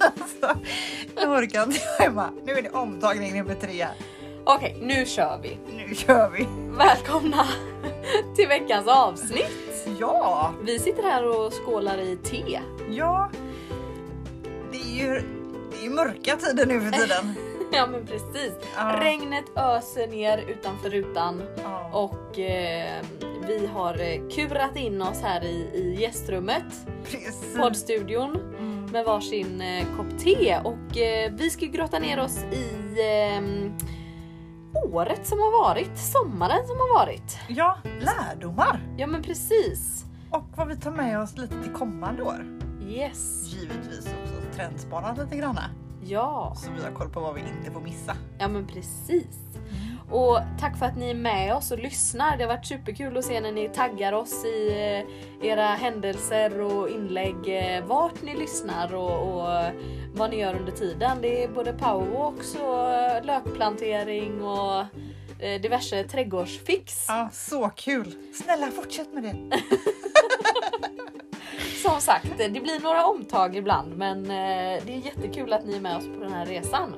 alltså, jag orkar inte. Jag är bara, nu är det omtagning nummer tre. Okej, nu kör vi. Nu kör vi. Välkomna till veckans avsnitt. Ja, Vi sitter här och skålar i te. ja. Det är ju, det är ju mörka tider nu för tiden. Ja men precis. Ja. Regnet öser ner utanför rutan Ja. och eh, vi har eh, kurat in oss här i, i gästrummet, Precis. poddstudion Mm. med varsin eh, kopp te och eh, vi ska ju grotta ner oss i ehm, året som har varit, sommaren som har varit. Ja, lärdomar. Ja men precis. Och vad vi tar med oss lite till kommande år. Yes. Givetvis också trendspanat lite granna. Ja. Så vi har koll på vad vi inte får missa. Ja men precis. Och tack för att ni är med oss och lyssnar. Det har varit superkul att se när ni taggar oss i eh, era händelser och inlägg. eh, Vart ni lyssnar och, och eh, vad ni gör under tiden. Det är både powerwalks och eh, lökplantering och eh, diverse trädgårdsfix. Ja, så kul. Snälla fortsätt med det. Som sagt, eh, det blir några omtag ibland men eh, det är jättekul att ni är med oss på den här resan.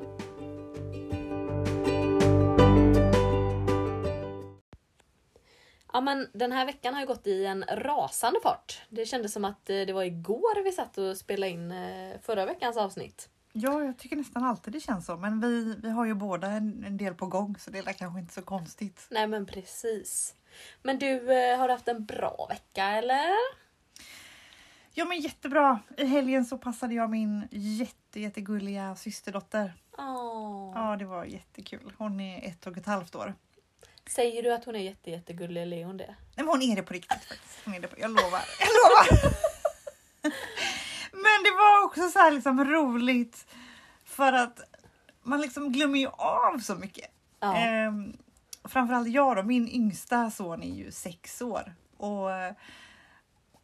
Ja men den här veckan har ju gått i en rasande fart. Det kändes som att eh, det var igår vi satt och spelade in eh, förra veckans avsnitt. Ja, jag tycker nästan alltid det känns så. Men vi, vi har ju båda en, en del på gång så det är kanske inte så konstigt. Nej men precis. Men du, eh, har du haft en bra vecka eller? Ja men jättebra! I helgen så passade jag min jätte, jättegulliga systerdotter. Åh. Ja, det var jättekul. Hon är ett och ett halvt år. Säger du att hon är jätte, jättegullig eller är hon det? Nej, men hon är det på riktigt faktiskt. Hon är det på, jag lovar. Jag lovar. men det var också så här liksom roligt för att man liksom glömmer ju av så mycket. Ja. Ehm, framförallt jag då, min yngsta son är ju sex år. Och eh,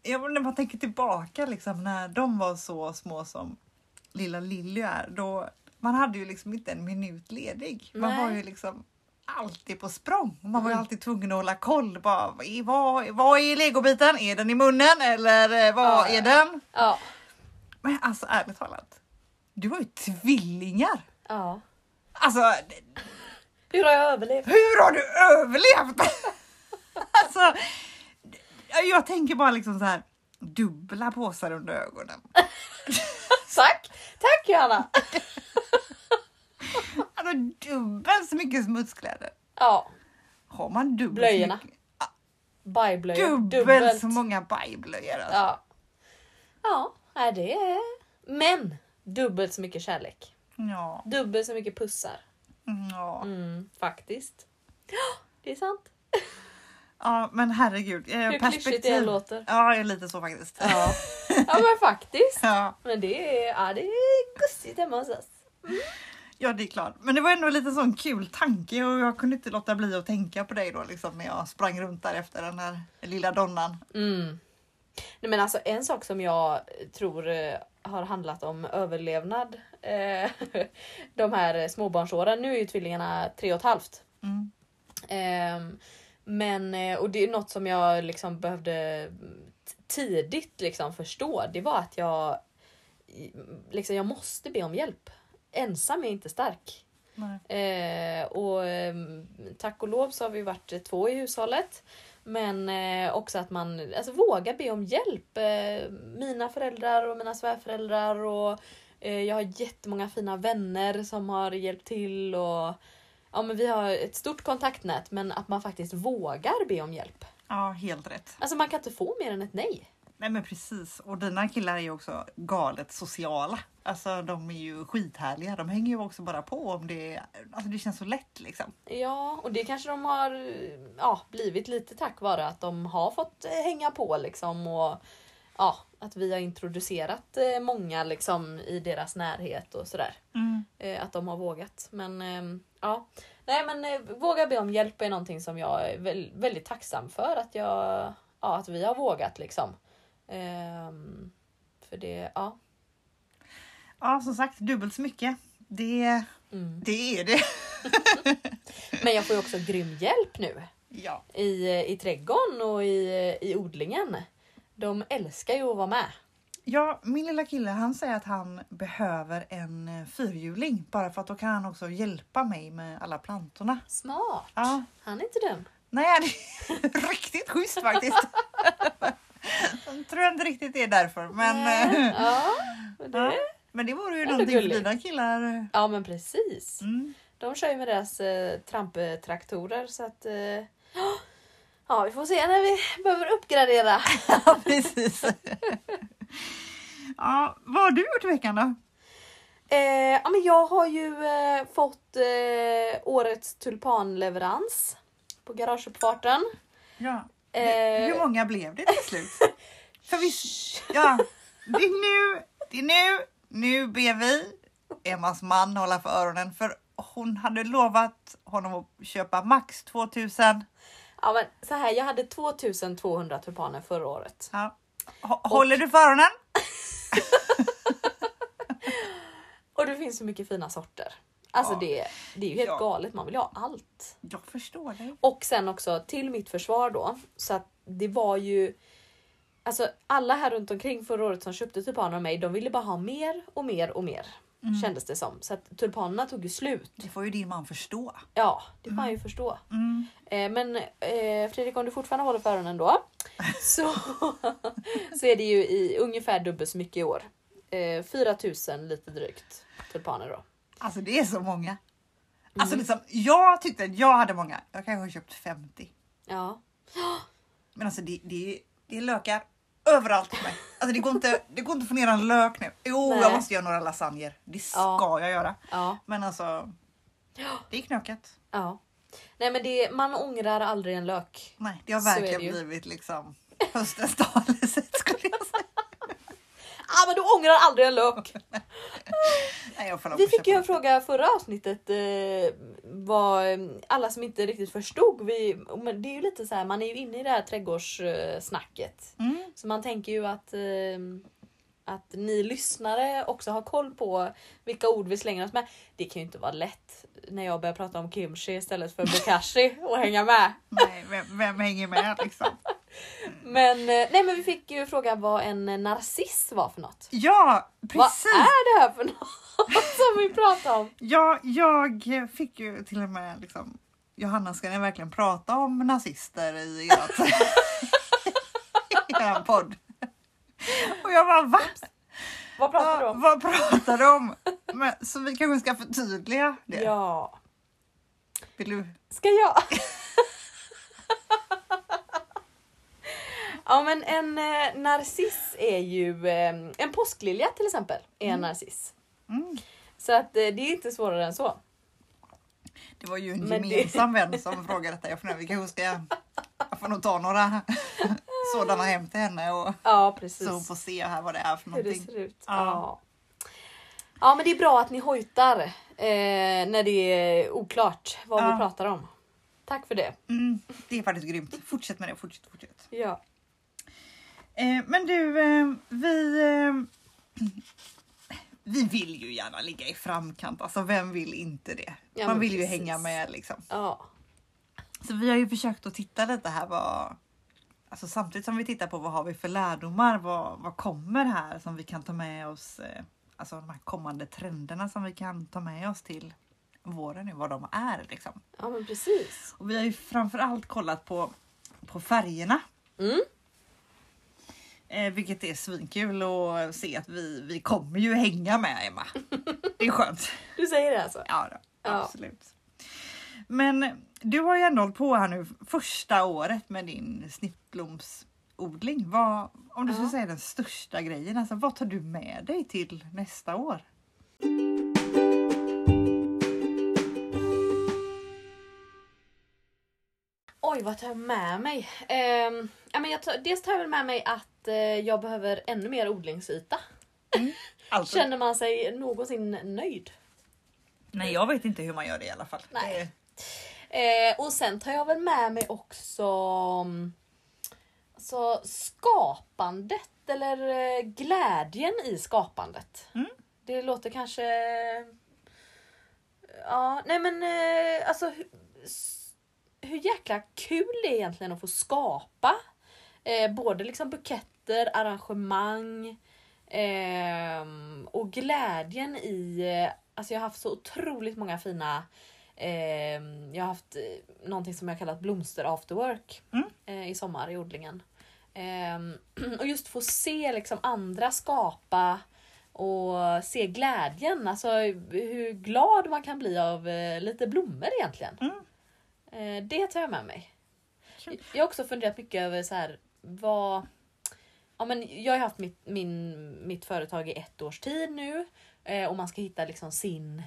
ja, men när man tänker tillbaka liksom, när de var så små som lilla Lilly är, då man hade ju liksom inte en minut ledig. Man Nej. Mm. var ju liksom alltid på språng. Man var ju alltid tvungen att hålla koll. Bara, vad, är- vad, vad är legobiten? Är den i munnen eller eh, vad Ja, är ja. den? Ja. Men alltså ärligt talat, du var ju tvillingar. ja. Alltså, Hur har jag överlevt? Hur har du överlevt? alltså, jag tänker bara liksom så här dubbla påsar under ögonen. Tack! Tack Johanna! Alltså dubbelt så mycket smutskläder. Ja, Har man dubbelt Blöjorna. så mycket? bajblöjor. Dubbelt, Dubbelt. så många bajblöjor. Alltså. Ja. Ja, nej, det är... Men! Dubbelt så mycket kärlek. Ja. Dubbelt så mycket pussar. Ja. Mm, faktiskt. Ja, det är sant. ja, men herregud. eh, Hur klyschigt det än låter. Ja, jag är lite så faktiskt. Ja. ja, men faktiskt. Ja, Men det är, ja, det är gussigt hemma hos oss. ja, det är klart. Men det var ändå lite sån kul tanke och jag kunde inte låta bli att tänka på dig då liksom när jag sprang runt där efter den här lilla donnan. Mm. Nej, men alltså en sak som jag tror eh, har handlat om överlevnad eh, de här eh, småbarnsåren. Nu är ju tvillingarna tre och ett halvt. Mm. Ehm, men, eh, och det är något som jag liksom behövde mm, t- tidigt liksom förstå. Det var att jag, i- liksom, jag måste be om hjälp. Ensam är inte stark. Nej. Eh, och ehm, tack och lov så har vi varit eh, två i hushållet. Men eh, också att man alltså, vågar be om hjälp. Eh, mina föräldrar och mina svärföräldrar och eh, jag har jättemånga fina vänner som har hjälpt till. Och, ja, men vi har ett stort kontaktnät men att man faktiskt vågar be om hjälp. Ja, helt rätt. Alltså man kan inte få mer än ett nej. Nej men precis. Och dina killar är ju också galet sociala. Alltså de är ju skithärliga. De hänger ju också bara på om det är... Alltså det känns så lätt liksom. Ja, och det kanske de har eh, ja, blivit lite tack vare att de har fått eh, hänga på liksom och ja, att vi har introducerat eh, många liksom i deras närhet och sådär. Eh, Att de har vågat. Men eh, ja, nej men eh, våga be om hjälp är någonting som jag är väl- väldigt tacksam för att jag, ja, att vi har vågat liksom. Ehm, För det, ja. Ja som sagt, dubbelt så mycket. Det, Mm. det är det. Men jag får ju också grym hjälp nu. Ja. i, i trädgården och i, i odlingen. De älskar ju att vara med. Ja, min lilla kille han säger att han behöver en eh, fyrhjuling bara för att då kan han också hjälpa mig med alla plantorna. Smart! Ja. Han är inte dum. Nej, det är riktigt schysst faktiskt. Jag tror inte riktigt det är därför. Men, Nej. eh, ja, och det... ja. men det vore ju Ändå någonting för gulligt. dina killar. ja, men precis. Mm. De kör ju med deras eh, trampetraktorer så att... Eh, ja, vi får se när vi behöver uppgradera. Ja, precis. ja, vad har du gjort i veckan då? Eh, ja, men jag har ju eh, fått eh, årets tulpanleverans på garageuppfarten. Ja. Eh, Hur många blev det till slut? För vi, ja, det är nu, det är nu, nu ber vi Emmas man hålla för öronen för hon hade lovat honom att köpa max 2000. Ja, men så här, jag hade 2200 tulpaner förra året. Ja. H- Håller du för öronen? Och det finns så mycket fina sorter. Alltså Ja. det, det är ju helt Ja. galet, man vill ju ha allt. Jag förstår dig. Och sen också till mitt försvar då, så att det var ju... Alltså alla här runt omkring förra året som köpte tulpaner av mig, de ville bara ha mer och mer och mer. Mm. Kändes det som. Så att tulpanerna tog ju slut. Det får ju din man förstå. Ja, det får man ju förstå. Mm. Eh, men eh, Fredrik, om du fortfarande håller för öronen då, så, så är det ju i ungefär dubbelt så mycket i år. Eh, 4000 lite drygt tulpaner då. Alltså det är så många. Mm. Alltså liksom, jag tyckte att jag hade många. Jag kanske har köpt 50. Ja. Men alltså det, det, det är lökar överallt på mig. Alltså det går inte, det går inte att få ner en lök nu. Jo, Nej. jag måste göra några lasagner. Det ska Ja. jag göra. Ja, Men alltså, det är knökat. ja. Nej men det, man ångrar aldrig en lök. Nej, det har Så är det verkligen ju. blivit liksom höstens talesätt skulle jag säga. Ah men du ångrar aldrig en lök! Nej, jag får lov Vi att fick ju köpa en fråga förra avsnittet eh, vad eh, alla som inte riktigt förstod. Vi, men det är ju lite så här, man är ju inne i det här trädgårdssnacket. den. Mm. Så man tänker ju att, eh, att ni lyssnare också har koll på vilka ord vi slänger oss med. Det kan ju inte vara lätt när jag börjar prata om kimchi istället för bokashi och hänga med. Nej, vem, vem hänger med liksom? Men, eh, nej, men vi fick ju fråga vad en narciss var för något. Ja, Vad precis. är det här för något som vi pratar om? Ja, jag fick ju till och med liksom Johanna, ska ni verkligen prata om nazister i ert, i eran podd? Och jag bara, va? Vad pratar du Vad, om? vad pratar du om? Men, så vi kanske ska förtydliga det. Ja, Vill du? ska jag? Ja men en eh, narciss är ju, eh, en påsklilja till exempel är en narciss. Mm. Så att eh, det är inte svårare än så. Det var ju en Men det- gemensam vän som frågade detta. Jag funderar, vi kanske ska... Jag får nog ta några sådana hem till henne och Ja så hon precis. får se här vad det är för Hur det någonting. ser ut. Ja. Ja. ja men det är bra att ni hojtar eh, när det är oklart vad Ja. vi pratar om. Tack för det. Mm, det är faktiskt grymt. Fortsätt med det, fortsätt, fortsätt. Ja. Eh, men du, eh, vi... Eh, vi vill ju gärna ligga i framkant, alltså vem vill inte det? Ja, Man men vill ju precis. hänga med liksom. Ja. Så vi har ju försökt att titta lite här vad... Alltså samtidigt som vi tittar på vad har vi för lärdomar, vad, vad kommer här som vi kan ta med oss? Eh, alltså de här kommande trenderna som vi kan ta med oss till våren nu, vad de är liksom. ja men precis. Och vi har ju framförallt kollat på, på färgerna. Mm. Eh, vilket är svinkul att se att vi, vi kommer ju hänga med Emma. Det är skönt. Du säger det alltså? Ja, då, Ja. absolut. Men du har ju ändå hållit på här nu första året med din snittblomsodling. Vad, om du Ja. skulle säga den största grejen, alltså, vad tar du med dig till nästa år? Oj, vad tar jag med mig? Ehm, ja, men jag tar, dels tar jag väl med mig att eh, jag behöver ännu mer odlingsyta. Alltså, Känner man sig någonsin nöjd? Nej, jag vet inte hur man gör det i alla fall. Nej. Det- Eh, och sen tar jag väl med mig också mm, alltså, skapandet eller eh, glädjen i skapandet. Mm. Det låter kanske... Ja, nej men eh, alltså hur, s- hur jäkla kul det är egentligen att få skapa. Eh, både liksom buketter, arrangemang, Ehm, och glädjen i... Alltså jag har haft så otroligt många fina... ehm, jag har haft eh, någonting som jag kallat blomster after work Mm. eh, i sommar i odlingen. Ehm, och just få se liksom andra skapa och se glädjen, alltså hur glad man kan bli av eh, lite blommor egentligen. Mm. Eh, det tar jag med mig. Kul. Jag har också funderat mycket över så här, vad... Ja, men jag har haft mitt, min, mitt företag i ett års tid nu eh, och man ska hitta liksom sin,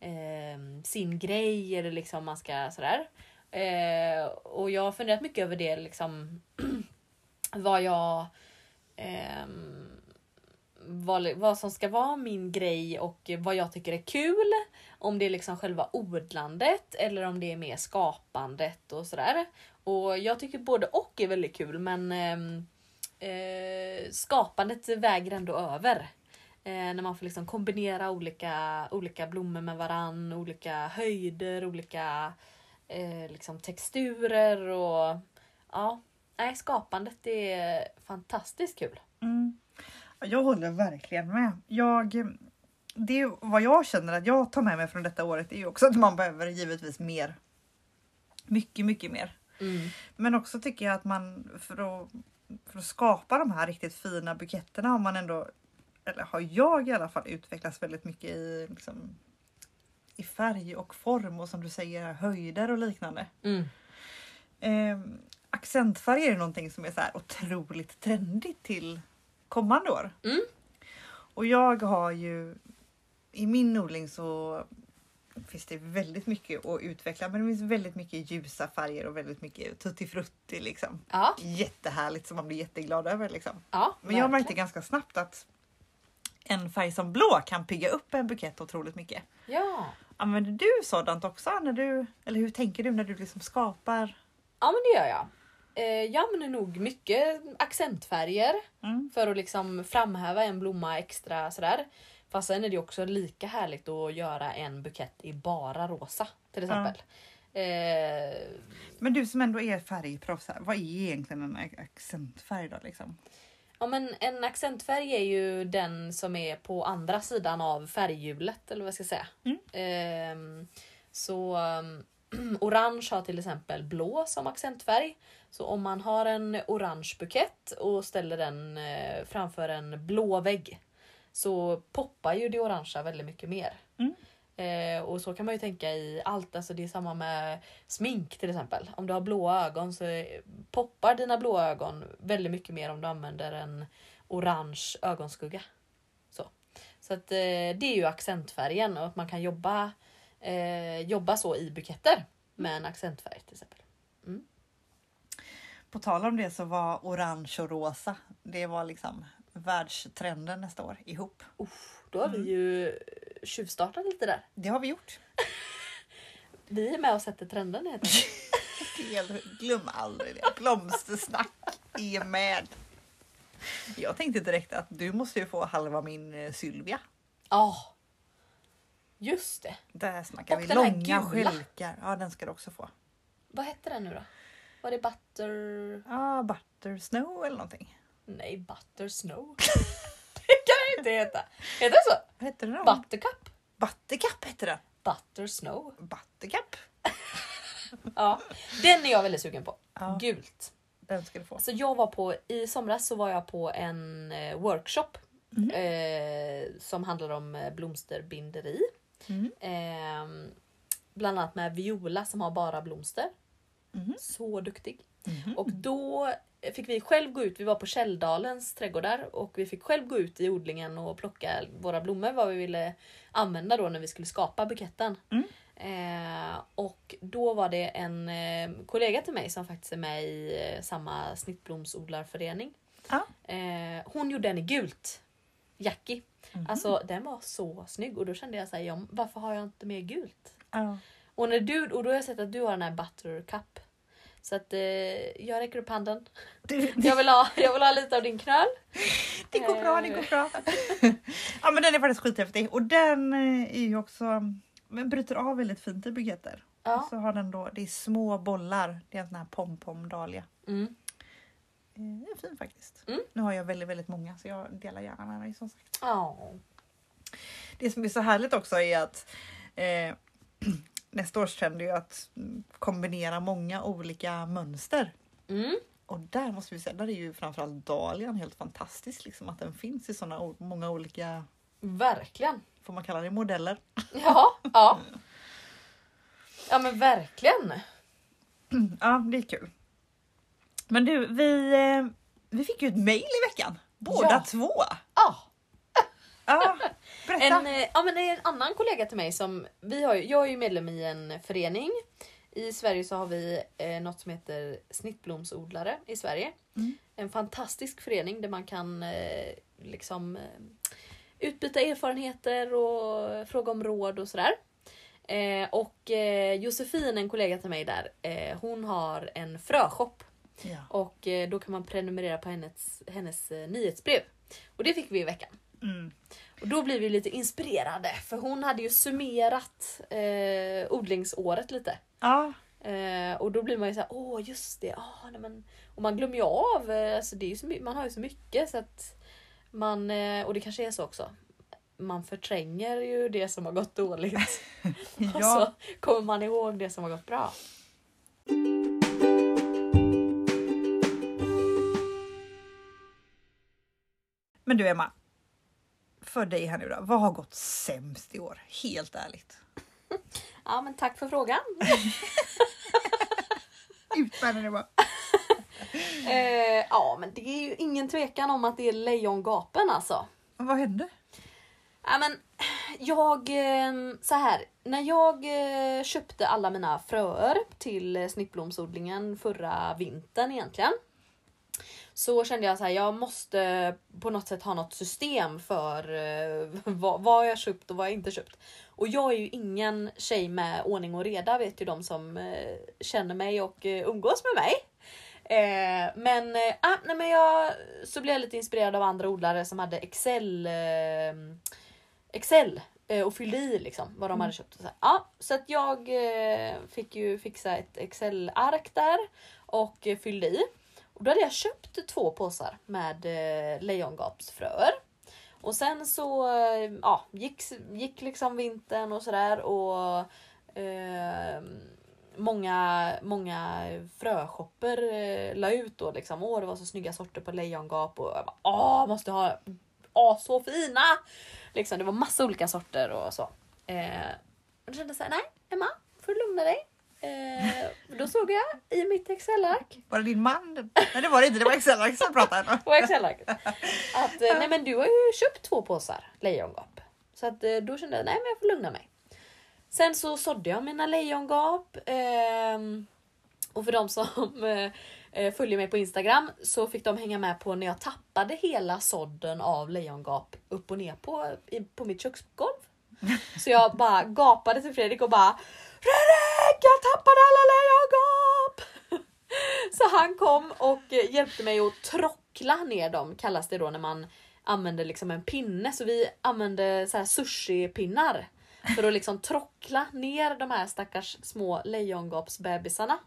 eh, sin grej eller liksom man ska sådär. Eh, och jag har funderat mycket över det liksom vad jag ehm, vad, vad som ska vara min grej och vad jag tycker är kul. Om det är liksom själva odlandet eller om det är mer skapandet och sådär. Och jag tycker både och är väldigt kul men ehm, eh, skapandet väger ändå över. Eh, när man får liksom kombinera olika, olika blommor med varann, olika höjder, olika eh, liksom texturer och ja. Nej, skapandet det är fantastiskt kul. Mm. Jag håller verkligen med. Jag, det är vad jag känner att jag tar med mig från detta året är ju också att man behöver givetvis mer. Mycket, mycket mer. Men också tycker jag att man för att, för att skapa de här riktigt fina buketterna har man ändå, eller har jag i alla fall utvecklats väldigt mycket i, liksom, i färg och form och som du säger höjder och liknande. Mm. Eh, accentfärg är ju någonting som är så här otroligt trendigt till kommande år. Mm. Och jag har ju i min odling så finns det väldigt mycket att utveckla men det finns väldigt mycket ljusa färger och väldigt mycket tuttifrutti liksom. Ja, Jättehärligt som man blir jätteglad över liksom. ja. Men jag märkte verkligen. ganska snabbt att en färg som blå kan pigga upp en bukett otroligt mycket. Ja. Använder du sådant också när du, eller hur tänker du när du liksom skapar? ja, men det gör jag. Eh, Jag använder nog mycket accentfärger Mm. för att liksom framhäva en blomma extra sådär. Fast sen är det också lika härligt att göra en bukett i bara rosa till exempel. Eh, Men du som ändå är färgproffs, här, vad är egentligen en ac- accentfärg då? Liksom? Ja men en accentfärg är ju den som är på andra sidan av färghjulet eller vad jag ska säga. Mm. Ehm, så ehm, orange har till exempel blå som accentfärg. Så om man har en orange bukett och ställer den eh, framför en blå vägg så poppar ju det orangea väldigt mycket mer. Mm. Eh, och så kan man ju tänka i allt, alltså det är samma med smink till exempel. Om du har blåa ögon så eh, poppar dina blåa ögon väldigt mycket mer om du använder en orange ögonskugga. Så, så att, eh, det är ju accentfärgen och att man kan jobba, eh, jobba så i buketter med en accentfärg till exempel. På tal om det så var orange och rosa, det var liksom världstrenden nästa år ihop. Då har vi ju tjuvstartat lite där. Det har vi gjort. Vi är med och sätter trenden helt enkelt. Fel, glöm aldrig det. Blomstersnack är med. Jag tänkte direkt att du måste ju få halva min eh, Sylvia. Ja! Just det. Där snackar Och vi den här långa gula. skälkar. Ja, den ska du också få. Vad hette den nu då? Var det butter... Ja, butter snow eller någonting. Nej, butter snow. det kan det inte heta. Heter det så? Vad hette den? då? Buttercup? Buttercup hette den. Butter snow. Buttercup. Ja, den är jag väldigt sugen på. Ja. Gult. Den ska du få. Så jag var på, i somras så var jag på en eh, workshop Mhm. eh, som handlar om eh, blomsterbinderi. Mm. Ehm, bland annat med Viola som har bara blomster. Mhm. Så duktig. Mhm. Och då fick vi själv gå ut, vi var på Källdalens trädgårdar och vi fick själv gå ut i odlingen och plocka våra blommor, vad vi ville använda då när vi skulle skapa buketten. Mm. Eh, och då var det en eh, kollega till mig som faktiskt är med i eh, samma snittblomsodlarförening. Ja. Eh, hon gjorde den i gult. Jackie. Mhm. Alltså den var så snygg och då kände jag såhär, ja, varför har jag inte mer gult? Ja. Och, när du, och då har jag sett att du har den här buttercup. Så att eh, jag räcker upp handen. Du, Jag vill ha, jag vill ha lite av din knöl. det går bra, det går bra. ja men den är faktiskt skithäftig och den eh, är ju också men bryter av väldigt fint i buketter. Ja. Så har den då, det är små bollar, det är en sån här pom-pom dahlia. Mm. eh, är fin faktiskt. Mm. Nu har jag väldigt, väldigt många så jag delar gärna med mig som sagt. Ja. Det som är så härligt också är att eh, nästa års trend är ju att mm, kombinera många olika mönster. Mm. Och där måste vi säga, där är ju framförallt dahlian helt fantastisk liksom att den finns i sådana o- många olika, Verkligen. får man kalla det modeller? Ja, ja. Ja men verkligen. Ja, det är kul. Men du, vi, eh, vi fick ju ett mejl i veckan. Båda Ja. två. Ja. Ja, berätta. En, eh, ja, men en annan kollega till mig som vi har, ju- jag är ju medlem i en förening. I Sverige så har vi eh, något som heter snittblomsodlare i Sverige. Mm. En fantastisk förening där man kan eh, liksom eh, utbyta erfarenheter och fråga om råd och sådär. Eh, och eh, Josefin, en kollega till mig där, eh, hon har en fröshop ja. och eh, då kan man prenumerera på hennes, hennes eh, nyhetsbrev. Och det fick vi i veckan. Mm. Och då blir vi lite inspirerade för hon hade ju summerat eh, odlingsåret lite. ja, Eh, och då blir man ju såhär, åh just det, ah, nej, men... och man glömmer ju av, eh, alltså, det är ju så my- man har ju så mycket så att man, eh, och det kanske är så också, man förtränger ju det som har gått dåligt och ja. så kommer man ihåg det som har gått bra. Men du Emma, för dig här nu då, vad har gått sämst i år? Helt ärligt. Ja men tack för frågan. Ut med den nu bara. Eh, ja men det är ju ingen tvekan om att det är lejongapen alltså. Vad hände? Ja, men jag, eh, så här, när jag eh, köpte alla mina fröer till eh, snittblomsodlingen förra vintern egentligen. Så kände jag så här, jag måste på något sätt ha något system för eh, vad, vad har jag köpt och vad har jag inte köpt. Och jag är ju ingen tjej med ordning och reda vet ju de som eh, känner mig och eh, umgås med mig. Eh, men, eh, ah, nej, men jag, så blev jag lite inspirerad av andra odlare som hade Excel, eh, Excel eh, och fyllde i liksom, vad de hade köpt. Och Så, här. Ja, så att jag eh, fick ju fixa ett Excel-ark där och eh, fyllde i. Och då hade jag köpt två påsar med eh, lejongapsfröer. Och sen så eh, ja, gick, gick liksom vintern och sådär och ehm, många, många fröshopper eh, la ut då liksom. Åh, det var så snygga sorter på lejongap och jag bara, åh, måste ha, åh, så fina! Liksom, det var massa olika sorter och så. Eh, och då kände jag såhär, nej Emma, får du lugna dig. Eh, då såg jag i mitt Excel-ark Var det din man? Nej det var det inte, det var Excel som pratade. på Excel-arket. Att eh, nej men du har ju köpt två påsar lejongap. Så att eh, då kände jag nej men jag får lugna mig. Sen så sådde jag mina lejongap. ehm, och för de som eh, eh, följer mig på Instagram så fick de hänga med på när jag tappade hela sådden av lejongap upp och ner på, i, på mitt köksgolv. Så jag bara gapade till Fredrik och bara Fredrik jag tappade alla lejongap! Så han kom och eh, hjälpte mig att trockla ner dem kallas det då när man använder liksom en pinne. Så vi använde så här sushi-pinnar för att liksom trockla ner de här stackars små lejongapsbebisarna.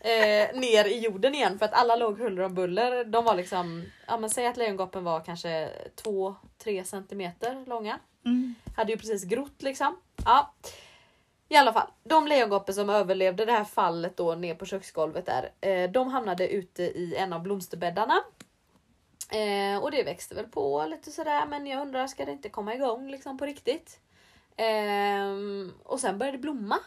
Eh, ner i jorden igen för att alla låg huller om buller. De var liksom, ja men säg att lejongapen var kanske 2-3 centimeter långa. Mm. Hade ju precis grott liksom. Ja. I alla fall, de lejongaper som överlevde det här fallet då ner på köksgolvet där, eh, de hamnade ute i en av blomsterbäddarna. Eh, och det växte väl på lite sådär men jag undrar ska det inte komma igång liksom på riktigt? Ehm, och sen började det blomma.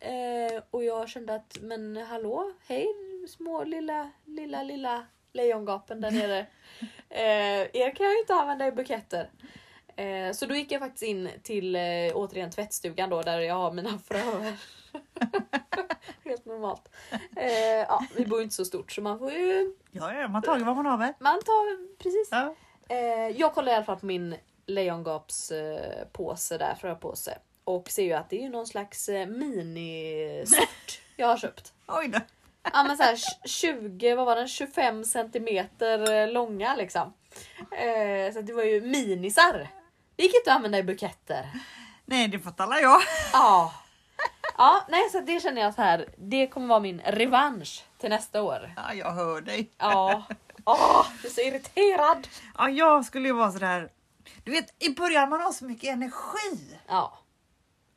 Eh, och jag kände att men hallå, hej små lilla lilla lilla lejongapen där nere. eh, er kan jag ju inte använda i buketter. Eh, så då gick jag faktiskt in till eh, återigen tvättstugan då där jag har mina fröer. Helt normalt. Eh, ja, vi bor ju inte så stort så man får ju, Ja, ja, man tar vad man har med. man tar precis Ja. Eh, jag kollar i alla fall på min lejongapspåse eh, påse där, fröpåse. Och ser ju att det är ju någon slags eh, minisort jag har köpt. Oj då. Ja men såhär 20, vad var den? 25 centimeter eh, långa liksom. Eh, så att det var ju minisar. Det gick inte att använda i buketter. Nej det fattar alla jag. Ja. Ja Ja, nej, så det känner jag så här. Det kommer vara min revansch till nästa år. Ja, jag hör dig. Ja. Åh, jag är så irriterad! Ja, jag skulle ju vara sådär. Du vet, i början man har så mycket energi. Ja,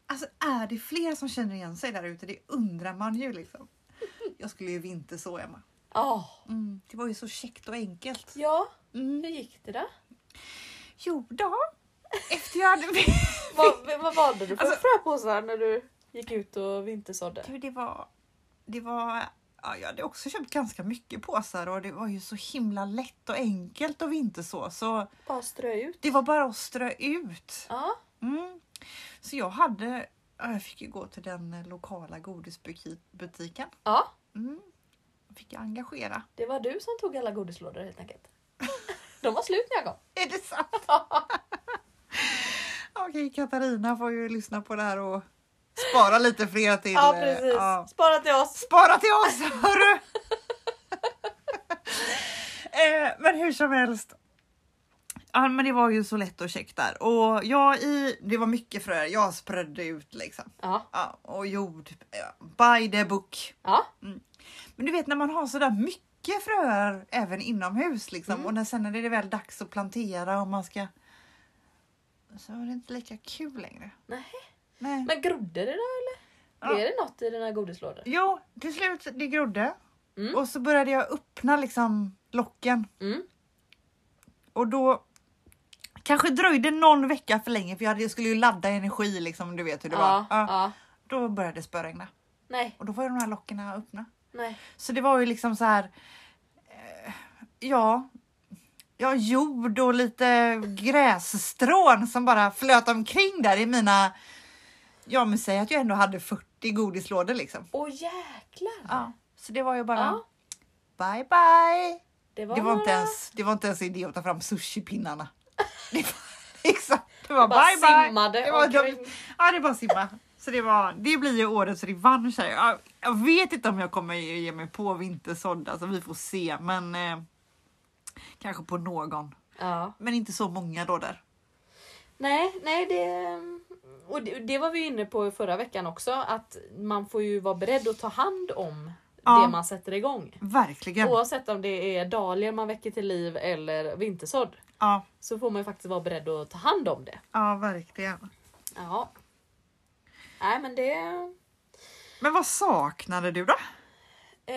Alltså är det fler som känner igen sig där ute? Det undrar man ju liksom. Jag skulle ju inte så Emma. Åh. Mm, det var ju så käckt och enkelt. ja. Mm. hur gick det då? Jo då. Efter jag hade... Vad, vad valde du för Alltså- fröpåsar när du gick ut och vintersådde? Du, det var... Det var... Ja, jag hade också köpt ganska mycket påsar och det var ju så himla lätt och enkelt och inte så. Så Typ Bara strö ut. det var bara att strö ut. Ja, Mm. Så jag hade... ja, Jag fick ju gå till den eh, lokala godisbutiken. ja, Mm. Fick jag engagera. det var du som tog alla godislådor helt enkelt. De var slut när jag kom. Är det sant? Okej, Katarina får ju lyssna på det här och spara lite fler till... Ja eh, precis, ja. spara till oss. Spara till oss, hörru! eh, men hur som helst. Ja, men det var ju så lätt och käckt där. Och jag i, det var mycket fröer, jag sprödde ut liksom. Ja, Ja, och jord, eh, by the book. ja, Men du vet när man har sådär mycket fröer även inomhus liksom Mm. och när, sen när det är väl dags att plantera och man ska så är det inte lika kul längre. nej. Nej. Men grodde det då eller? Ja. Är det något i dina godislådor? Jo, till slut det grodde Mm. och så började jag öppna liksom locken Mm. och då kanske dröjde någon vecka för länge för jag hade- skulle ju ladda energi liksom, du vet hur det Ja, var. Ja. ja. Då började det spöregna Nej, och då var ju de här locken öppna. nej. Så det var ju liksom så här. eh, Ja. Ja, jord och lite grässtrån som bara flöt omkring där i mina... Ja, men säg att jag ändå hade 40 godislådor liksom. Åh jäklar! Ja, så det var ju bara Ja, bye bye. det Det var, inte några- ens, det var inte ens idé att ta fram sushipinnarna. Det var, liksom, det var Det bara bye bye. simmade det var, omkring. ja, det bara simma. Så det, var, det blir ju årets revansch här. Jag, jag vet inte om jag kommer ge mig på vintersådd, alltså vi får se. Men eh, kanske på någon. Ja. Men inte så många då där. Nej, nej det... Och det, det var vi inne på förra veckan också, att man får ju vara beredd att ta hand om Ja. det man sätter igång. Verkligen. Oavsett om det är dahlior man väcker till liv eller vintersådd Ja, så får man ju faktiskt vara beredd att ta hand om det. ja, verkligen. Ja. Nej men det... Men vad saknade du då? Eh,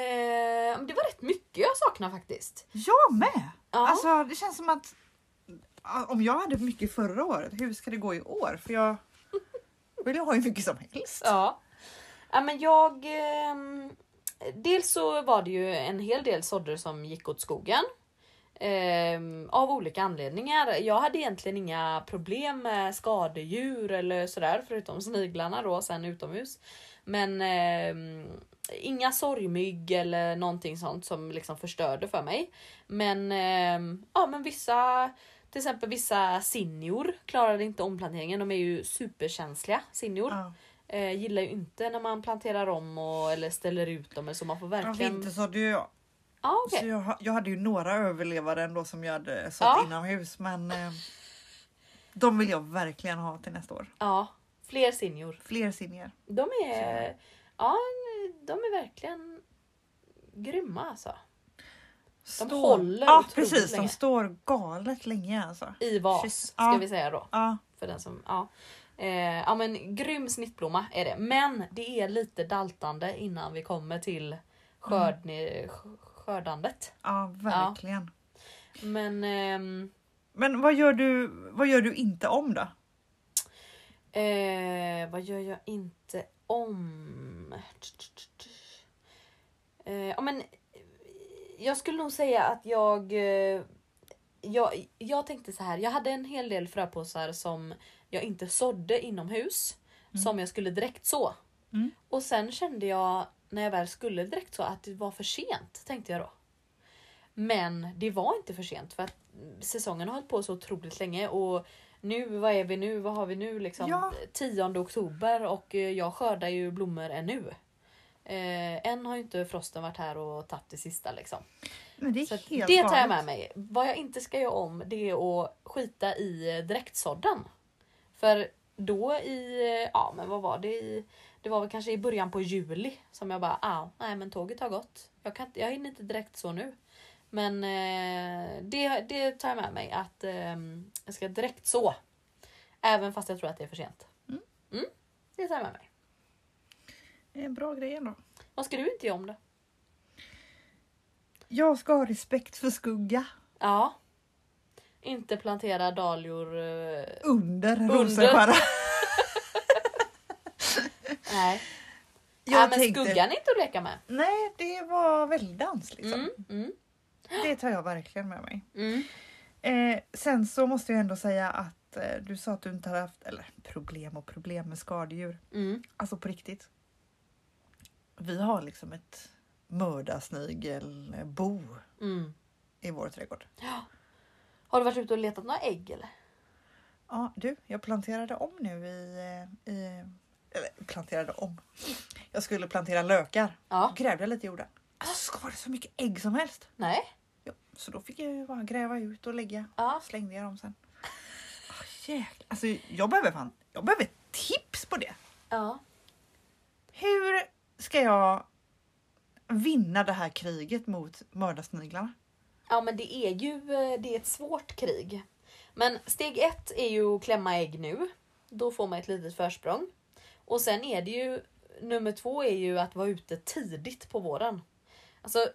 det var rätt mycket jag saknar faktiskt. Jag med. Ja. Alltså, det känns som att ja, om jag hade mycket förra året, hur ska det gå i år? För jag vill ju ha hur mycket som helst. Ja. ja men jag... ehm, dels så var det ju en hel del sådder som gick åt skogen. Ehm, av olika anledningar. Jag hade egentligen inga problem med skadedjur eller sådär förutom sniglarna då sen utomhus. Men ehm, inga sorgmygg eller någonting sånt som liksom förstörde för mig. Men, ehm, ja, men vissa, till exempel vissa sinjor klarade inte omplanteringen. De är ju superkänsliga sinjor. Ja. Eh, gillar ju inte när man planterar om och, eller ställer ut dem eller så. Man får Ja, verkligen... vinter sådde ju jag. Ja, okej. Så jag, ha- jag hade ju några överlevare ändå som jag hade sått Ja. inomhus men eh, de vill jag verkligen ha till nästa år. Ja, fler sinjor. Fler sinjer. De är... Ja, de är verkligen grymma alltså. Står- håller ja, otroligt precis, länge. De står galet länge alltså. I vas, Precis. ska Ja. vi säga då. Ja, För den som, ja. Eh, ja men grym snittblomma är det. Men det är lite daltande innan vi kommer till skörd, sk- skördandet. ja verkligen. Men ehm, Men vad gör, du, vad gör du inte om då? Eh, vad gör jag inte om? Eh, ja, men, eh, jag skulle nog säga att jag, eh, jag... Jag tänkte så här. Jag hade en hel del fröpåsar som jag inte sådde inomhus. Som jag skulle direkt så. Mm. Och sen kände jag när jag väl skulle direkt så att det var för sent. Tänkte jag då. Men det var inte för sent för att säsongen har hållit på så otroligt länge och nu, vad är vi nu, vad har vi nu liksom? Ja. 10 oktober och eh, jag skördar ju blommor ännu. Eh, än har ju inte frosten varit här och tagit det sista liksom. Men det är Så att helt det tar galet. jag med mig. Vad jag inte ska göra om det är att skita i eh, direktsådden. För då i, eh, ja men vad var det i, det Det var väl kanske i början på juli som jag bara, ah, nej men tåget har gått. Jag, kan, inte- jag hinner inte direkt så nu. Men eh, det, det tar jag med mig att ehm, jag ska direkt så. Även fast jag tror att det är för sent. Mm. Mm, det tar jag med mig. Det är en bra grej ändå. Vad ska du inte göra om då? Jag ska ha respekt för skugga Ja. Inte plantera dahlior. eh, under, Under. Rosenskära. Nej. Jag nej men tänkte- skuggan är inte att leka med. Nej, det var väldans liksom. Mm, mm, Det tar jag verkligen med mig. mm. Eh, sen så måste jag ändå säga att eh, du sa att du inte hade haft eller, problem och problem med skadedjur. Mm. Alltså på riktigt. Vi har liksom ett mördarsnigelbo Mm. i vår trädgård. Har du varit ute och letat några ägg eller? Ja, du, jag planterade om nu i... eh, i eller planterade om. Jag skulle plantera lökar. Ja. Grävde lite i jorden. Alltså, var det så mycket ägg som helst? Nej. Ja, så då fick jag ju bara gräva ut och lägga. Ja. Slängde jag dem sen. Oh, jäklar. Alltså, jag behöver fan, jag behöver tips på det. Ja. Hur ska jag vinna det här kriget mot mördarsniglarna? Ja men det är ju eh, det är ett svårt krig. Men steg ett är ju att klämma ägg nu. Då får man ett litet försprång. Och sen är det ju nummer två är ju att vara ute tidigt på våren. Alltså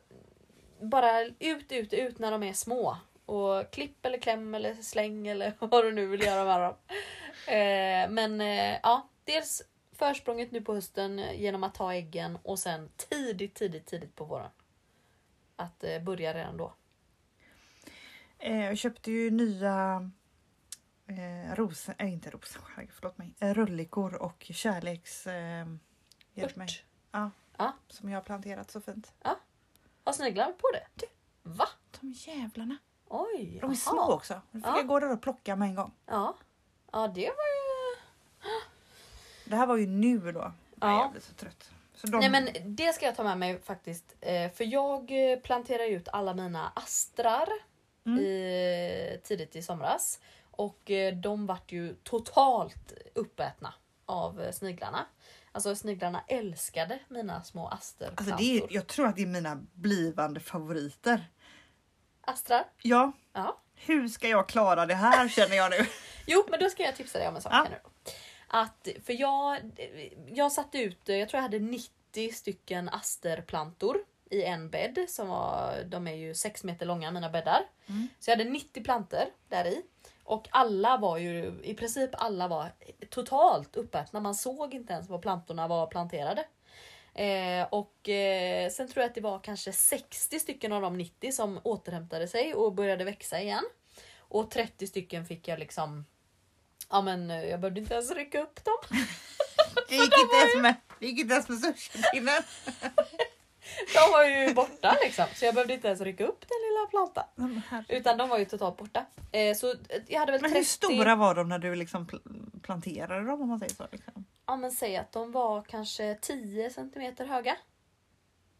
bara ut, ut, ut när de är små. Och klipp eller kläm eller släng eller vad du nu vill göra med dem. Eh, men eh, ja, dels försprånget nu på hösten genom att ta äggen och sen tidigt, tidigt, tidigt på våren. Att eh, börja redan då. Eh, jag köpte ju nya eh, rosen, eh, inte rosenskär, förlåt mig, eh, rullikor och kärleks... Eh, hjälp mig. Ört. Ja, Ja. Som jag har planterat så fint. Har sniglar på det? Du, va? De jävlarna. Oj! De är små aha. också. Nu fick Ja. jag gå där och plocka med en gång. Ja. ja, det var ju... Det här var ju nu då. Nej, Ja. jag blir så trött. Så de, Nej men det ska jag ta med mig faktiskt. Eh, För jag eh, planterar ut alla mina astrar Mm. i, tidigt i somras. Och eh, de vart ju totalt uppätna av eh, sniglarna. Alltså sniglarna älskade mina små asterplantor. alltså det är, jag tror att det är mina blivande favoriter. Astrar? Ja, Ja. hur ska jag klara det här känner jag nu. Jo, men då ska jag tipsa dig om en sak. Ja. här nu då. Att, för jag, jag satte ut, jag tror jag hade 90 stycken asterplantor i en bädd. Som var, de är ju 6 meter långa mina bäddar. Mm. Så jag hade 90 plantor där i. Och alla var ju, i princip alla var totalt uppätna. Man såg inte ens var plantorna var planterade. Eh, och eh, sen tror jag att det var kanske 60 stycken av de 90 som återhämtade sig och började växa igen. Och 30 stycken fick jag liksom Ja men eh, jag behövde inte ens rycka upp dem. Det gick inte ens med, det gick inte ens med sushipinnen. De var ju borta liksom. Så jag behövde inte ens rycka upp den lilla plantan. Ja, men herregud. Utan de var ju totalt borta. Eh, så eh, jag hade väl Men 30... hur stora var de när du liksom pl- planterade dem om man säger så? Liksom? Ja men säg att de var kanske 10 cm höga.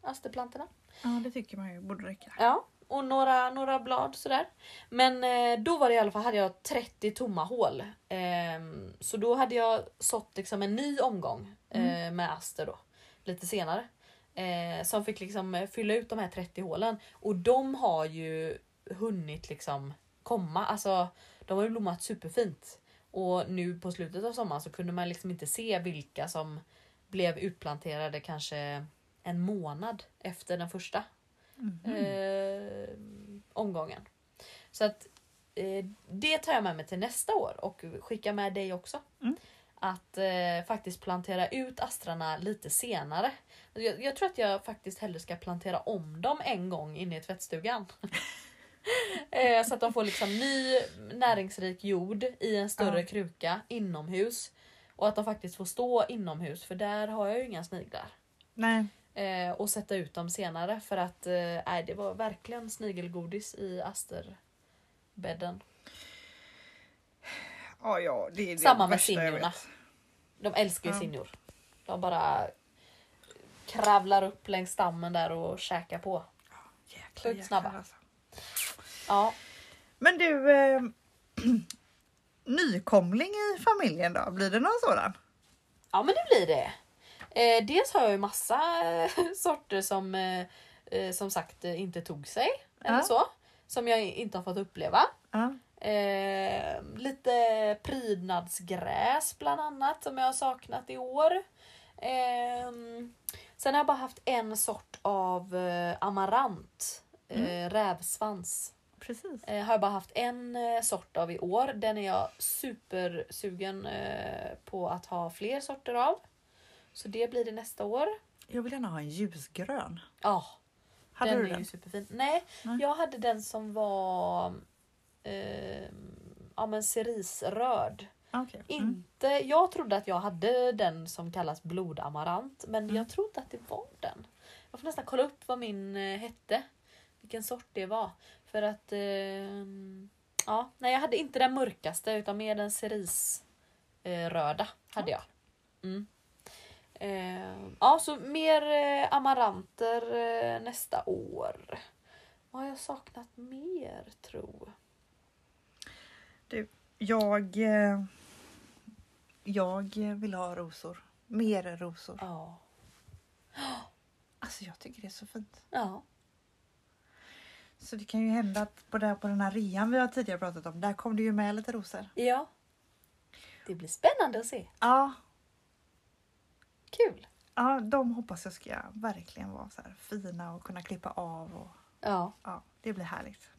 Asterplantorna. Ja det tycker man ju borde räcka. Ja, och några, några blad sådär. Men eh, då var det i alla fall, hade jag 30 tomma hål. Ehm, så då hade jag sått liksom en ny omgång eh, med aster då. Lite senare. Eh, som fick liksom eh, fylla ut de här 30 hålen. Och de har ju hunnit liksom komma. Alltså de har ju blommat superfint. Och nu på slutet av sommaren så kunde man liksom inte se vilka som blev utplanterade kanske en månad efter den första Mhm. eh, omgången. Så att eh, det tar jag med mig till nästa år och skickar med dig också. Mm. Att eh, faktiskt plantera ut astrarna lite senare. Jag, jag tror att jag faktiskt hellre ska plantera om dem en gång inne i tvättstugan. eh, så att de får liksom ny näringsrik jord i en större Ja. kruka inomhus. Och att de faktiskt får stå inomhus för där har jag ju inga sniglar Nej, eh, och sätta ut dem senare för att eh, nej, det var verkligen snigelgodis i asterbädden. ja, ja det är det Samma med värsta jag zinniorna. vet. De älskar ju Ja. sinjor. De bara kravlar upp längs stammen där och käkar på. Jäklar, Sjukt jäklar, snabba. alltså. Ja, Men du, eh, nykomling i familjen då? Blir det någon sådan? ja men det blir det. Eh, dels har jag ju massa eh, sorter som eh, eh, som sagt eh, inte tog sig. Eller Ja. så. Som jag inte har fått uppleva. Ja. Eh, lite prydnadsgräs bland annat som jag har saknat i år. Ehm, sen har jag bara haft en sort av eh, amarant, Mm. eh, rävsvans. Precis. Eh, har jag bara haft en eh, sort av i år. Den är jag supersugen eh, på att ha fler sorter av. Så det blir det nästa år. Jag vill gärna ha en ljusgrön. Ja, Hade den du är den? ju superfin. Nej, Nej. jag hade den som var eh, ja, men cerisröd. Okej. Mm. Inte, jag trodde att jag hade den som kallas blodamarant, men jag trodde att det var den. Jag får nästan kolla upp vad min eh, hette. Vilken sort det var. För att... Eh, ja, nej, jag hade inte den mörkaste utan mer den cerisröda. Eh, röda hade jag. Mm. Eh, ja, så mer eh, amaranter eh, nästa år. Vad har jag saknat mer, tro? Jag, eh, jag eh, vill ha rosor. Mer rosor. Ja. Alltså jag tycker det är så fint. Ja. Så det kan ju hända att på, där, på den här rean vi har tidigare pratat om, där kom det ju med lite rosor. Ja. Det blir spännande att se. Ja, Kul! ja de hoppas jag ska verkligen vara så här fina och kunna klippa av. Och, Ja. ja, det blir härligt.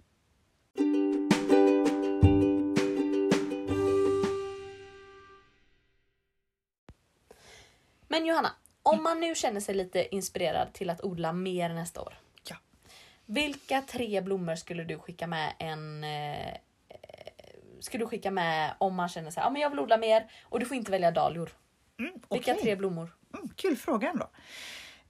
Men Johanna, om man nu känner sig lite inspirerad till att odla mer nästa år. Ja. Vilka tre blommor skulle du skicka med en... Eh, eh, skulle du skicka med om man känner sig ja men jag vill odla mer och du får inte välja dahlior. Mm, Vilka okej. tre blommor? Mm, kul fråga ändå.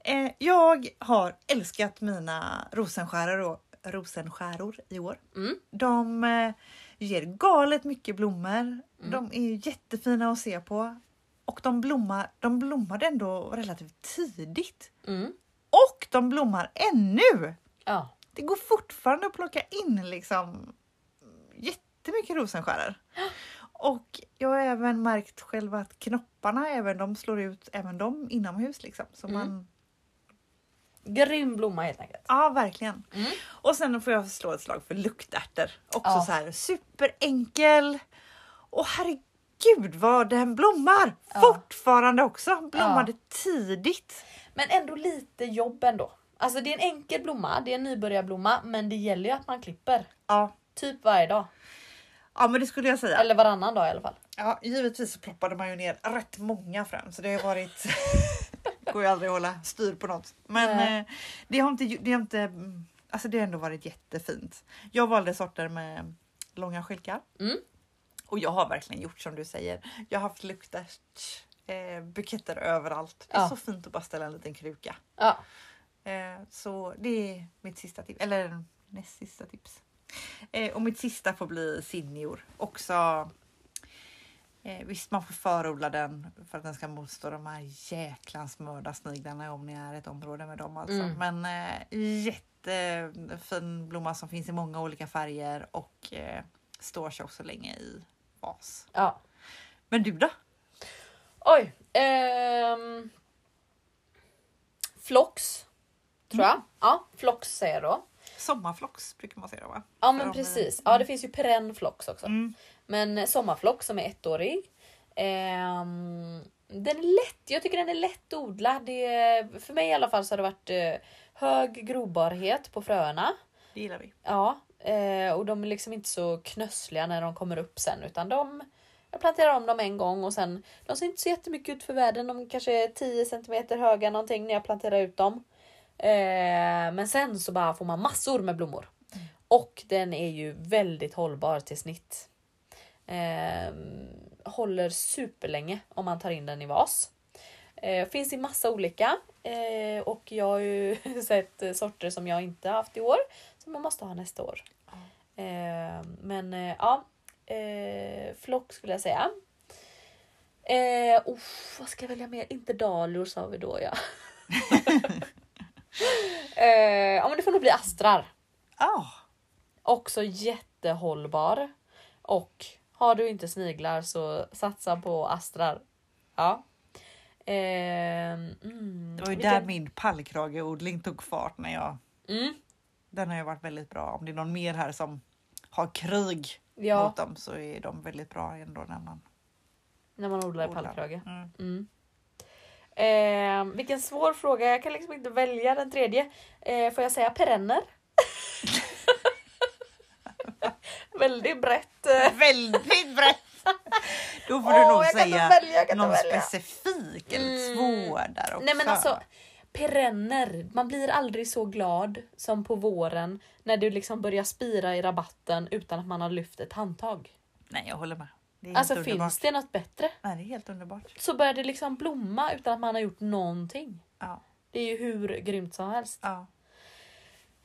Eh, jag har älskat mina rosenskäror, och, rosenskäror i år. Mm. De eh, ger galet mycket blommor. De är ju jättefina att se på. Och de, blommar, de blommade ändå relativt tidigt. Mm. Och de blommar ännu! Ja. Det går fortfarande att plocka in liksom jättemycket rosenskäror. Och jag har även märkt själv att knopparna, även de slår ut även de inomhus. Liksom. Så Mm. man, Grym blomma helt enkelt. ja, verkligen. Mm. Och sen får jag slå ett slag för luktärtor. Också Ja. så här superenkel. Och herregud vad den blommar! Ja. Fortfarande också. Blommade tidigt. Men ändå lite jobb ändå. Alltså det är en enkel blomma, det är en nybörjarblomma men det gäller ju att man klipper. Ja. Typ varje dag. ja, men det skulle jag säga. Eller varannan dag i alla fall. Ja, givetvis så ploppade man ju ner rätt många fram så det har ju varit... går ju aldrig att hålla styr på något. Men Nej. eh, det har inte... Det har inte mm, alltså det har ändå varit jättefint. Jag valde sorter med långa skälkar. Mm. Och jag har verkligen gjort som du säger. Jag har haft luktärt, eh, buketter överallt. Det är Ja. så fint att bara ställa en liten kruka. Ja. Eh, så det är mitt sista tips. Eller näst sista tips. Eh, och mitt sista får bli sinjor. Också. Eh, visst, man får förodla den för att den ska motstå de här jäklans mördarsniglarna om ni är ett område med dem. Alltså. Mm. Men eh, jättefin blomma som finns i många olika färger och eh, står sig också länge i vas. ja. Men du då? Oj. ehm, flox. Tror jag. Ja, flox säger jag då. Sommarflox brukar man säga då va? Ja För men Mm. de är- precis. Ja det finns ju perenn flox också. Mm. Men eh, sommarflox som är ettårig. Ehm, den är lätt. Jag tycker den är lätt att odla. Det, för mig i alla fall så har det varit eh, hög grobarhet på fröerna. Det gillar vi. Ja, eh, och de är liksom inte så knössliga när de kommer upp sen utan de jag planterar om dem en gång och sen de ser inte så jättemycket ut för världen. De kanske är 10 cm höga någonting när jag planterar ut dem. Eh, men sen så bara får man massor med blommor. Och den är ju väldigt hållbar till snitt. Eh, håller superlänge om man tar in den i vas. Eh, finns i massa olika eh, och jag har ju sett eh, sorter som jag inte haft i år som man måste ha nästa år. Eh, men eh, ja, eh, flock skulle jag säga. Eh, uff, vad ska jag välja mer? Inte dahlior sa vi då ja. eh, ja men det får nog bli astrar. Ah, Också jättehållbar. Och har du inte sniglar så satsa på astrar. Ja. Ehm, mm, Det var ju vilken- där min pallkrageodling tog fart när jag... Mm, Den har ju varit väldigt bra. Om det är någon mer här som har krig ja, mot dem så är de väldigt bra ändå när man när man odlar odlar. pallkrage. Mm. Mm. Ehm, vilken svår fråga. Jag kan liksom inte välja den tredje. Ehm, får jag säga perenner? Väldigt brett. eh. Väldigt brett! Då får du Åh, nog jag kan inte säga välja, jag kan inte någon välja. specifik eller Mm. två där också. Nej men alltså, perenner. Man blir aldrig så glad som på våren när du liksom börjar spira i rabatten utan att man har lyft ett handtag. Nej, jag håller med. Det är Alltså helt underbart. finns det något bättre? Nej, det är helt underbart. Så börjar det liksom blomma utan att man har gjort någonting. Ja, Det är ju hur grymt som helst. ja.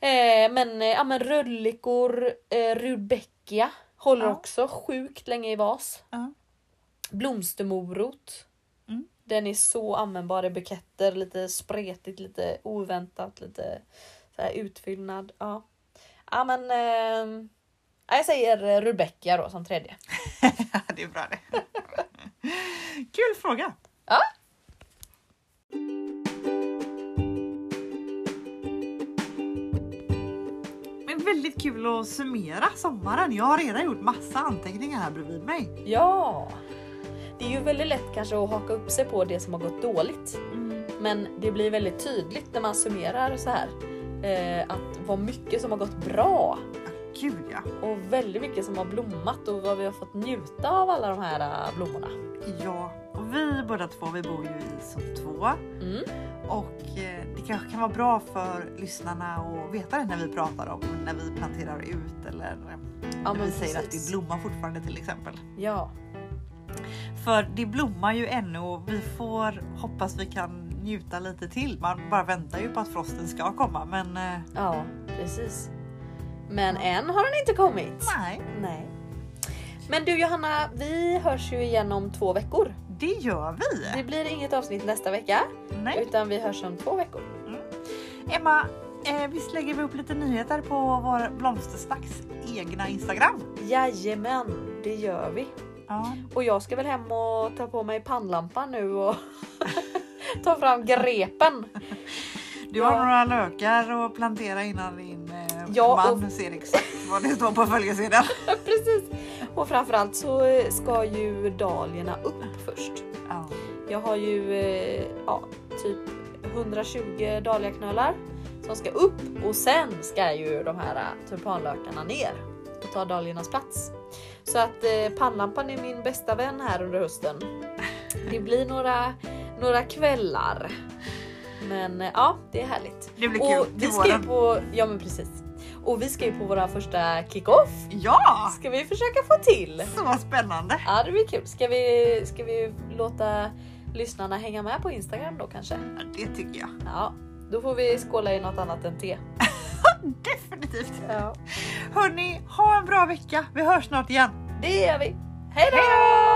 Eh, men, eh, ja, men rödlikor, eh, rudbeckia håller Ja. också sjukt länge i vas. Ja. Blomstermorot. Mm. Den är så användbar i buketter, lite spretigt, lite oväntat, lite så här utfyllnad. Ja, ja men eh, ja, jag säger eh, rudbeckia då som tredje. det är bra det. Kul fråga! Ja. Men väldigt kul att summera sommaren. Jag har redan gjort massa anteckningar här bredvid mig. Ja! Det är ju väldigt lätt kanske att haka upp sig på det som har gått dåligt. Men det blir väldigt tydligt när man summerar så här. Eh, att vad mycket som har gått bra Gud ja. och väldigt mycket som har blommat och vad vi har fått njuta av alla de här eh, blommorna. Ja, och vi båda två vi bor ju i zon 2 Mm. och eh, det kanske kan vara bra för lyssnarna att veta det när vi pratar om när vi planterar ut eller Ja, när vi men säger att det precis. blommar fortfarande till exempel. Ja, För det blommar ju ännu och vi får hoppas vi kan njuta lite till. Man bara väntar ju på att frosten ska komma men eh, ja precis. Men än har den inte kommit. nej, Nej. Men du Johanna, vi hörs ju igen om två veckor. det gör vi. Det blir inget avsnitt nästa vecka Nej. utan vi hörs om två veckor. Emma, eh, visst lägger vi upp lite nyheter på vår blomstersnacks egna Instagram? Jajamän, det gör vi. Ja, Och jag ska väl hem och ta på mig pannlampan nu och ta fram grepen. Du har Ja. några lökar att plantera innan din eh, Ja, man ser exakt vad det står på följesedeln. Precis. Och framförallt så eh, ska ju dahliorna upp först. Ja. Jag har ju eh, ja, typ 120 dahliaknölar som ska upp och sen ska ju de här eh, tulpanlökarna ner och ta dahliornas plats. Så att eh, pannlampan är min bästa vän här under hösten. Det blir några, några kvällar. Men eh, ja, det är härligt. Det blir Och kul vi till ska ju våren. på, ja men precis. Och vi ska ju på våra första kick-off. Ja, Ska vi försöka få till. så spännande. Ja det blir kul. Ska vi, ska vi låta lyssnarna hänga med på Instagram då kanske? Ja, Det tycker jag. Ja, då får vi skåla i något annat än te. Definitivt. Ja. Hörni, ha en bra vecka. Vi hörs snart igen. Det gör vi. Hej då! Hej då!